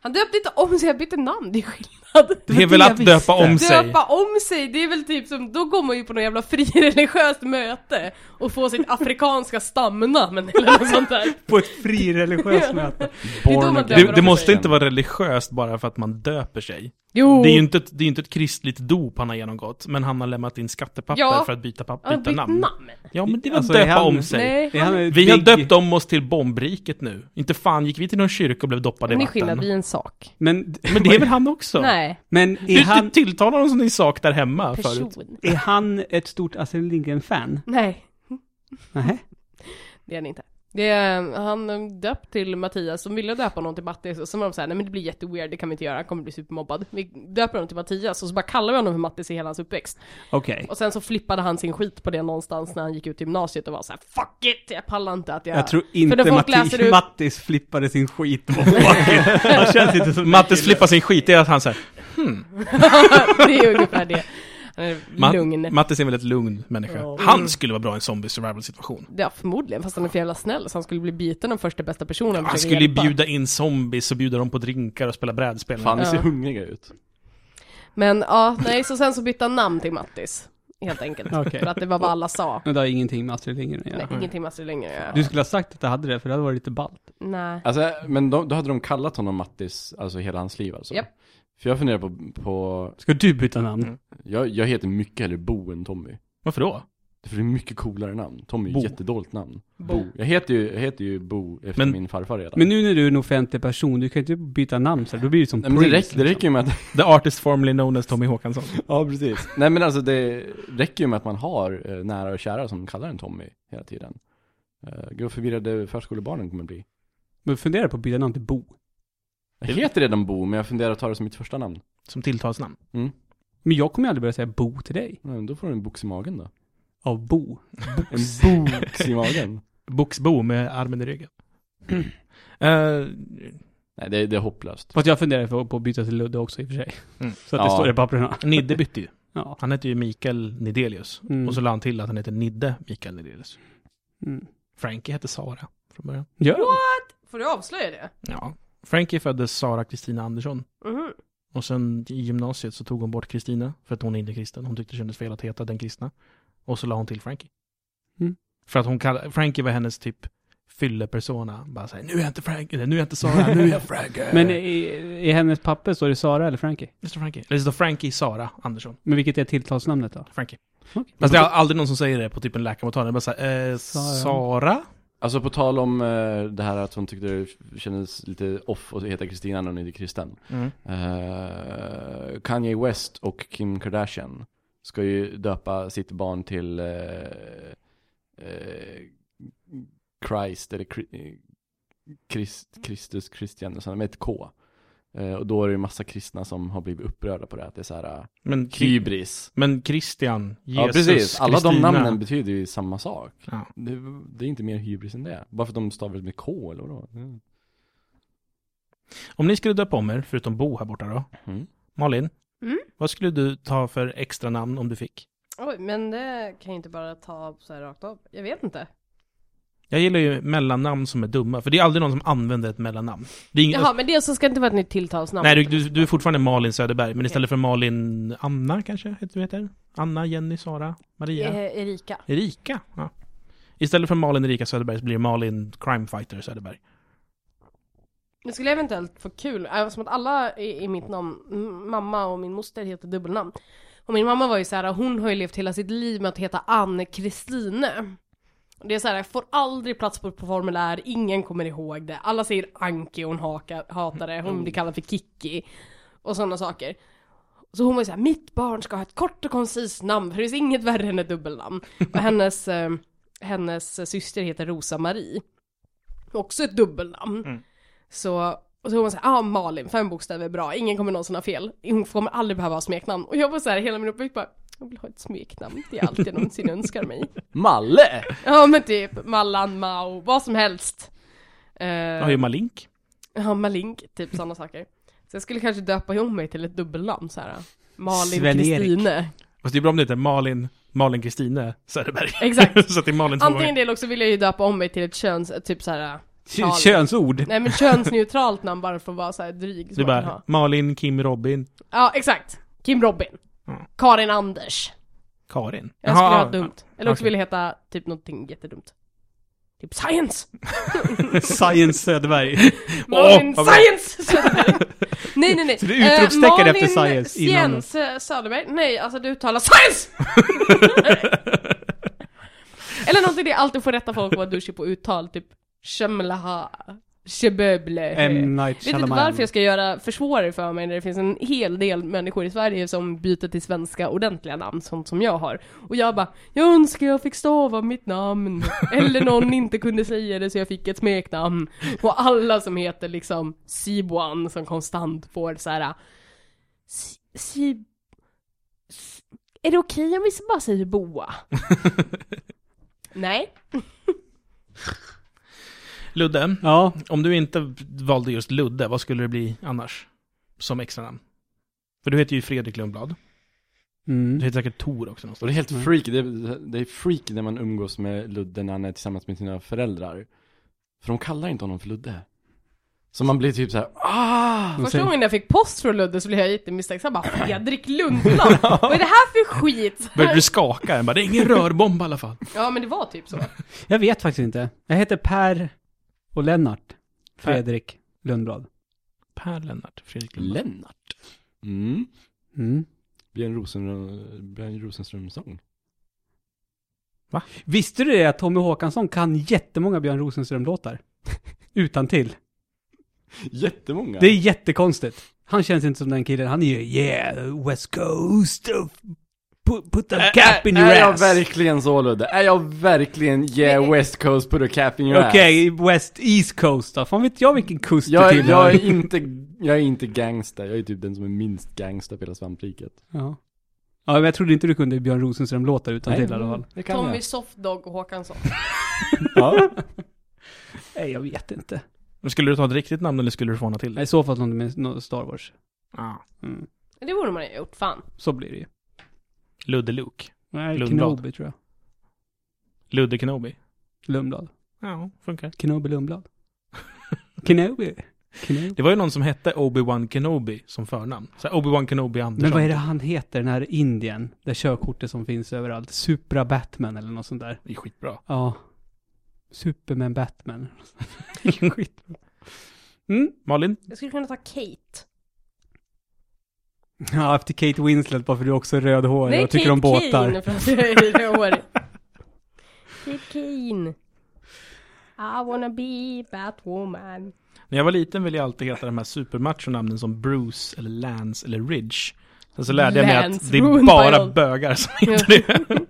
Speaker 3: Han döpte inte om sig, han bytte namn, det är skillnad.
Speaker 1: Det
Speaker 2: var
Speaker 1: är väl
Speaker 2: det jag
Speaker 1: att döpa
Speaker 2: visste.
Speaker 1: om sig.
Speaker 3: Döpa om sig, det är väl typ som, då går man ju på något jävla frireligiöst möte och får sitt afrikanska stamnamn eller något sånt där.
Speaker 2: På ett frireligiöst möte.
Speaker 3: då man
Speaker 4: again.
Speaker 3: döper
Speaker 1: Det,
Speaker 3: om
Speaker 1: det
Speaker 3: sig.
Speaker 1: måste inte vara religiöst bara för att man döper sig.
Speaker 3: Jo!
Speaker 1: Det är ju inte ett, det är inte ett kristligt dop han har genomgått, men han har lämnat in skattepapper
Speaker 3: Ja.
Speaker 1: för att byta, papp,
Speaker 3: Ja,
Speaker 1: byta
Speaker 3: bytt
Speaker 1: namn.
Speaker 3: namn.
Speaker 1: Ja, men det var
Speaker 2: Alltså, är
Speaker 1: döpa
Speaker 2: han-
Speaker 1: om sig.
Speaker 3: Nej,
Speaker 2: Det är han med
Speaker 1: Vi har
Speaker 2: Big-
Speaker 1: döpt om oss till bombriket nu. Inte fan gick vi till någon kyrka och blev doppade i
Speaker 3: men det är
Speaker 1: vatten.
Speaker 3: skillnad, vi är en sak.
Speaker 2: Men,
Speaker 1: Men det är väl han också?
Speaker 3: Nej,
Speaker 2: men
Speaker 1: Du,
Speaker 2: är, han,
Speaker 1: du tilltalar honom som din sak där hemma
Speaker 3: person.
Speaker 1: förut.
Speaker 2: är han ett stort Astrid Lindgren-fan?
Speaker 3: Nej,
Speaker 2: Nej.
Speaker 3: det är han inte. Det är, han eh, döpt till Mattias, de ville döpa någon till Mattis och sen var de såhär, nej men det blir jätteweird, det kan vi inte göra, han kommer bli supermobbad. Vi döper honom till Mattias och så bara kallar vi honom för Mattis i hela hans uppväxt.
Speaker 2: Okej.
Speaker 3: Och sen så flippade han sin skit på det någonstans när han gick ut gymnasiet och var så här: fuck it, jag pallar inte att jag...
Speaker 2: Jag tror
Speaker 3: För när
Speaker 2: inte
Speaker 3: folk
Speaker 2: Matti,
Speaker 3: läser ut-
Speaker 2: Mattis flippade sin skit. på backen. han känns inte som
Speaker 1: Mattes flippar sin skit, det är att han säger
Speaker 3: det är ungefär det. Han är
Speaker 1: Ma-
Speaker 3: lugn.
Speaker 1: Mattes är en väldigt lugn människa. Han skulle vara bra i en zombie survival situation.
Speaker 3: Ja, förmodligen, fast han är för jävla snäll så han skulle bli biten av första bästa personen han
Speaker 1: Han
Speaker 3: försöker
Speaker 1: skulle ju
Speaker 3: hjälpa.
Speaker 1: bjuda in zombies och bjuda dem på drinkar och spela brädspel.
Speaker 4: Fan, ni ser
Speaker 3: Ja.
Speaker 4: hungriga ut.
Speaker 3: Men ja, nej, så sen så bytte han namn till Mattis. Helt enkelt.
Speaker 2: Okej.
Speaker 3: För att det var vad alla sa.
Speaker 2: Men det har ingenting med Astrid Lindgren att
Speaker 3: Nej,
Speaker 2: göra.
Speaker 3: ingenting med Astrid Lindgren att göra.
Speaker 2: Du skulle ha sagt att du hade det, för det hade varit lite ballt.
Speaker 3: Nej.
Speaker 4: Alltså, men då, då hade de kallat honom Mattis, alltså hela hans liv alltså.
Speaker 3: Japp.
Speaker 4: För jag funderar på, på
Speaker 2: Ska du byta namn?
Speaker 1: Mm.
Speaker 4: jag, jag heter mycket hellre Bo än Tommy.
Speaker 1: Varför då?
Speaker 4: För det är mycket coolare namn. Tommy är
Speaker 1: Bo.
Speaker 4: ett jättedåligt namn.
Speaker 3: Bo.
Speaker 4: Jag heter ju, jag heter ju Bo efter
Speaker 1: Men-
Speaker 4: min farfar redan.
Speaker 2: Men nu när du är en offentlig person, du kan ju inte byta namn så här. då blir du som
Speaker 4: Nej, men det,
Speaker 2: Prince, liksom.
Speaker 4: räcker, det räcker ju med att...
Speaker 1: The artist formerly known as Tommy Håkansson.
Speaker 4: ja, precis. Nej men alltså det räcker ju med att man har eh, nära och kära som kallar en Tommy hela tiden. Uh, gud vad förvirrade förskolebarnen kommer bli.
Speaker 2: Men fundera på att byta namn till Bo.
Speaker 4: Jag heter redan Bo, men jag funderar att ta det som mitt första namn.
Speaker 1: Som tilltalsnamn.
Speaker 2: Men jag kommer ju aldrig börja säga Bo till dig.
Speaker 4: Nej, men då får du en box i magen då.
Speaker 2: Av Bo.
Speaker 4: En box i magen.
Speaker 1: Boxbo med armen i ryggen. Eh,
Speaker 4: Nej, det, det är hopplöst.
Speaker 2: Fast jag funderar på- på att byta till Ludde också i och för sig.
Speaker 1: Mm.
Speaker 2: Så att det
Speaker 4: Ja.
Speaker 2: står i papperna.
Speaker 1: Nidde bytte ju.
Speaker 2: Ja.
Speaker 1: Han hette ju Mikael Nidelius.
Speaker 2: Mm.
Speaker 1: Och så lade han till att han heter Nidde Mikael Nidelius.
Speaker 2: Mm.
Speaker 1: Frankie hette Sara från början.
Speaker 2: Gör de?
Speaker 3: Får du avslöja det?
Speaker 1: Ja. Frankie föddes Sara Kristina Andersson.
Speaker 3: Mhm.
Speaker 1: Och sen i gymnasiet så tog hon bort Kristina för att hon är inte kristen. Hon tyckte det kändes fel att heta den kristna. Och så la hon till Frankie.
Speaker 2: Mm.
Speaker 1: För att hon kall- Frankie var hennes typ fyllepersona. Bara såhär, nu är jag inte Frankie, nu är jag inte Sara, nu är jag Frankie.
Speaker 2: Men i, i hennes papper står det Sara eller Frankie?
Speaker 1: Mr Frankie. Eller så står Frankie Sara Andersson.
Speaker 2: Men vilket är tilltalsnamnet då?
Speaker 1: Frankie.
Speaker 2: Okej.
Speaker 1: Fast Alltså, det är aldrig någon som säger det på typ en läkarmottagning. Det är bara såhär, eh,
Speaker 2: Sara.
Speaker 1: Sara?
Speaker 4: Alltså på tal om eh, det här att hon tyckte det kändes lite off att heta Kristina när hon inte är kristen.
Speaker 1: Mm.
Speaker 4: Eh, Kanye West och Kim Kardashian ska ju döpa sitt barn till eh, eh, Christ eller Kri- eh, Krist, Kristus, Christian och sådana med ett K. Eh, och då är det ju massa kristna som har blivit upprörda på det, att det är så här eh,
Speaker 1: Men,
Speaker 4: hybris.
Speaker 1: men Christian, Jesus,
Speaker 4: ja precis, alla de
Speaker 1: Kristina.
Speaker 4: namnen betyder ju samma sak.
Speaker 1: Ja.
Speaker 4: Det, det är inte mer hybris än det. Bara för att de stavar det med K eller vadå?
Speaker 1: Om ni skulle döpa om er, förutom Bo här borta då.
Speaker 4: Mm.
Speaker 1: Malin,
Speaker 3: Mm.
Speaker 1: vad skulle du ta för extra namn om du fick?
Speaker 3: Oj, men det kan jag inte bara ta så här rakt av. Jag vet inte.
Speaker 1: Jag gillar ju mellannamn som är dumma, för det är aldrig någon som använder ett mellannamn. Det är ingen,
Speaker 3: Jaha, men det så ska det inte vara ett nytt tilltalsnamn.
Speaker 1: nej, du, du, du är fortfarande Malin Söderberg, men
Speaker 3: Okej.
Speaker 1: istället för Malin Anna kanske heter du heter? Anna, Jenny, Sara, Maria,
Speaker 3: Eh, Erika.
Speaker 1: Erika? Ja. Istället för Malin Erika Söderberg så blir det Malin Crime Fighter Söderberg.
Speaker 3: Det skulle eventuellt få kul, även som att alla i, i mitt namn, m- mamma och min moster heter dubbelnamn. Och min mamma var ju så här, hon har ju levt hela sitt liv med att heta Anne Kristine. Och Det är så här, får aldrig plats på, på formulär, ingen kommer ihåg det. Alla säger Anki, hon hakar, hatar det, hon blir kallad för Kikki. Och sådana saker. Så hon var ju såhär, mitt barn ska ha ett kort och koncist namn, för det finns inget värre än ett dubbelnamn. Och hennes, eh, hennes syster heter Rosa Marie. Också ett dubbelnamn. Så, och så var hon såhär, ja ah, Malin, fem bokstäver är bra, ingen kommer någonsin ha fel. Hon kommer aldrig behöva ha smeknamn. Och jag var såhär hela min uppväxt bara, jag vill ha ett smeknamn, det är allt jag någonsin önskar mig.
Speaker 4: Malle!
Speaker 3: Ja men typ, Mallan, Mao, vad som helst. Eh,
Speaker 1: Jag har ju Malink.
Speaker 3: ja, Malink, typ sådana saker. Så jag skulle kanske döpa om mig till ett dubbelnamn såhär. Malin
Speaker 2: Sven-Erik.
Speaker 3: Kristine.
Speaker 1: Fast det är bra om det heter Malin Malin Kristine Söderberg.
Speaker 3: Exakt.
Speaker 1: så att det är Malin två
Speaker 3: Antingen
Speaker 1: gånger.
Speaker 3: det eller också vill jag ju döpa om mig till ett köns, typ såhär,
Speaker 2: Kö- Könsord.
Speaker 3: nej men könsneutralt namn bara för att vara såhär dryg som
Speaker 1: Du
Speaker 3: man kan ha.
Speaker 1: bara, Malin, Kim, Robin,
Speaker 3: Ja, exakt. Kim Robin.
Speaker 1: Mm.
Speaker 3: Karin Anders.
Speaker 1: Karin.
Speaker 3: Jag
Speaker 1: Jaha,
Speaker 3: skulle
Speaker 1: ja.
Speaker 3: ha dumt. Eller också
Speaker 1: okej.
Speaker 3: vill jag heta typ någonting jättedumt. Typ science!
Speaker 2: Science Söderberg.
Speaker 3: Malin
Speaker 1: vad bra.
Speaker 3: science! Söderberg. nej, nej, nej.
Speaker 2: Så du utropstecken
Speaker 3: Eh,
Speaker 2: efter science
Speaker 3: Malin
Speaker 2: innan-
Speaker 3: Science Söderberg. Nej, alltså du uttalar science! Eller någonting det jag alltid får rätta folk att vara douchig på uttal, typ Shemlaha, Sheböble.
Speaker 2: M. Night
Speaker 3: Vet inte
Speaker 2: Shyamalan.
Speaker 3: varför jag ska göra försvårare för mig när det finns en hel del människor i Sverige som byter till svenska ordentliga namn, sånt som jag har. Och jag bara, jag önskar jag fick stava mitt namn. Eller någon inte kunde säga det så jag fick ett smeknamn. Och alla som heter liksom Sibuan som konstant får så här. "Si- Si... S- Är det okej om vi bara säger boa? Nej.
Speaker 1: Ludde,
Speaker 2: Ja,
Speaker 1: om du inte valde just Ludde, vad skulle det bli annars? Som extranamn? För du heter ju Fredrik Lundblad.
Speaker 2: mm.
Speaker 1: Du heter säkert Tor också
Speaker 4: Och
Speaker 1: någonstans.
Speaker 4: det är helt freak, det är, det är freak när man umgås med Ludde när han är tillsammans med sina föräldrar. För de kallar inte honom för Ludde. Så man blir typ så här, ah!
Speaker 2: De
Speaker 3: Första
Speaker 2: säger,
Speaker 3: gången jag fick post från Ludde så blev jag jättemisstänksam. Jag bara Fredrik Lundblad? Vad är det här för skit?
Speaker 1: Började du skaka? Jag Bara, det är ingen rörbomb i alla fall.
Speaker 3: Ja men det var typ så.
Speaker 2: jag vet faktiskt inte. Jag heter Per och Lennart. Fredrik Lundblad.
Speaker 1: Per Lennart, Fredrik Lundblad.
Speaker 4: Lennart. Mm.
Speaker 2: Mm.
Speaker 4: Björn, Rosenström, Björn Rosenström-sång.
Speaker 2: Visste du det att Tommy Håkansson kan jättemånga Björn Rosenström-låtar? Utan till.
Speaker 4: Jättemånga.
Speaker 2: Det är jättekonstigt. Han känns inte som den killen. Han är ju yeah, West Coast of... Put, put a cap in your
Speaker 4: är jag
Speaker 2: ass.
Speaker 4: verkligen så Ludde? Är jag verkligen yeah west coast put a cap in your ass?
Speaker 2: Okej, West East Coast då. Fan vet jag vilken kust
Speaker 4: Jag,
Speaker 2: du
Speaker 4: är-
Speaker 2: tillhör.
Speaker 4: jag, är inte, jag är inte gangster, jag är typ den som är minst gangster på hela svampriket.
Speaker 2: Ja. ja, men jag trodde inte du kunde Björn Rosenström-låtar utan till i alla fall.
Speaker 4: det kan
Speaker 3: Tommy
Speaker 4: jag.
Speaker 3: Softdog och Håkansson.
Speaker 4: Ja.
Speaker 2: Nej, jag vet inte.
Speaker 1: Men Skulle du ta ett riktigt namn eller skulle du få något till?
Speaker 2: Nej, I så fall som det med nå- Star Wars.
Speaker 1: Ja.
Speaker 2: Mm.
Speaker 3: Det borde man ju ha gjort, fan.
Speaker 2: Så blir det ju.
Speaker 1: Ludde Luke.
Speaker 2: Nej,
Speaker 1: Lundblad.
Speaker 2: Kenobi tror jag.
Speaker 1: Ludde Kenobi.
Speaker 2: Lundblad.
Speaker 1: Ja, funkar.
Speaker 2: Kenobi Lundblad. Kenobi. Kenobi.
Speaker 1: Det var ju någon som hette Obi-Wan Kenobi som förnamn. Så här, Obi-Wan Kenobi Andersson.
Speaker 2: Men vad är det han heter, den här Indien? Det körkortet som finns överallt. Supra Batman eller något sånt där.
Speaker 1: Det är skitbra.
Speaker 2: Ja. Superman Batman. Skit. Mm.
Speaker 1: Malin?
Speaker 3: Jag skulle kunna ta Kate.
Speaker 2: Ja, efter Kate Winslet bara för du är också rödhårig och tycker om båtar.
Speaker 3: Kane för att jag är rödhårig. Kate Kane. I wanna be Batwoman.
Speaker 1: När jag var liten ville jag alltid heta de här supermachonamnen som Bruce eller Lance eller Ridge. Sen så lärde jag mig att
Speaker 3: Lance,
Speaker 1: det är
Speaker 3: ruined by
Speaker 1: bara
Speaker 3: all-
Speaker 1: bögar som heter det.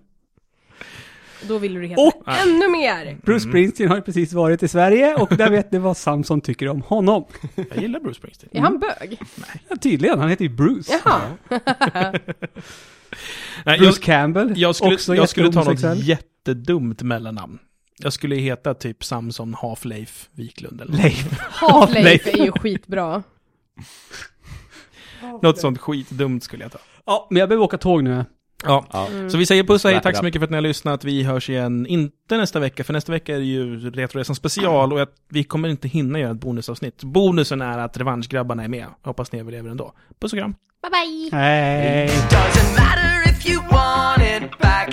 Speaker 3: Då vill du heta
Speaker 2: Och-
Speaker 3: ännu mer!
Speaker 1: Mm.
Speaker 2: Bruce Springsteen har ju precis varit i Sverige och där vet ni vad Samson tycker om honom.
Speaker 1: Jag gillar Bruce Springsteen.
Speaker 3: Är han bög?
Speaker 2: Mm. Ja, tydligen, han heter ju Bruce.
Speaker 3: Jaha.
Speaker 1: Nej, jag,
Speaker 2: Bruce Campbell,
Speaker 1: jag
Speaker 2: också
Speaker 1: skulle, jag skulle ta något
Speaker 2: jättehomosexuell.
Speaker 1: jättedumt mellannamn. Jag skulle heta typ Samson Half-Leif Wiklund eller något.
Speaker 2: Leif.
Speaker 3: Half-Life är ju skitbra.
Speaker 1: något sånt skitdumt skulle jag ta.
Speaker 2: Ja, men jag behöver åka tåg nu.
Speaker 1: Ja.
Speaker 4: Ja.
Speaker 1: Så vi säger puss och hej,
Speaker 4: Wrap it
Speaker 1: tack så
Speaker 4: up.
Speaker 1: mycket för att ni har lyssnat. Vi hörs igen, inte nästa vecka, för nästa vecka är det ju Retroresan special och jag, vi kommer inte hinna göra ett bonusavsnitt. Bonusen är att revanschgrabbarna är med. Hoppas ni överlever ändå. Puss och kram.
Speaker 3: Bye bye!
Speaker 2: Hej.
Speaker 6: Doesn't matter if you want it back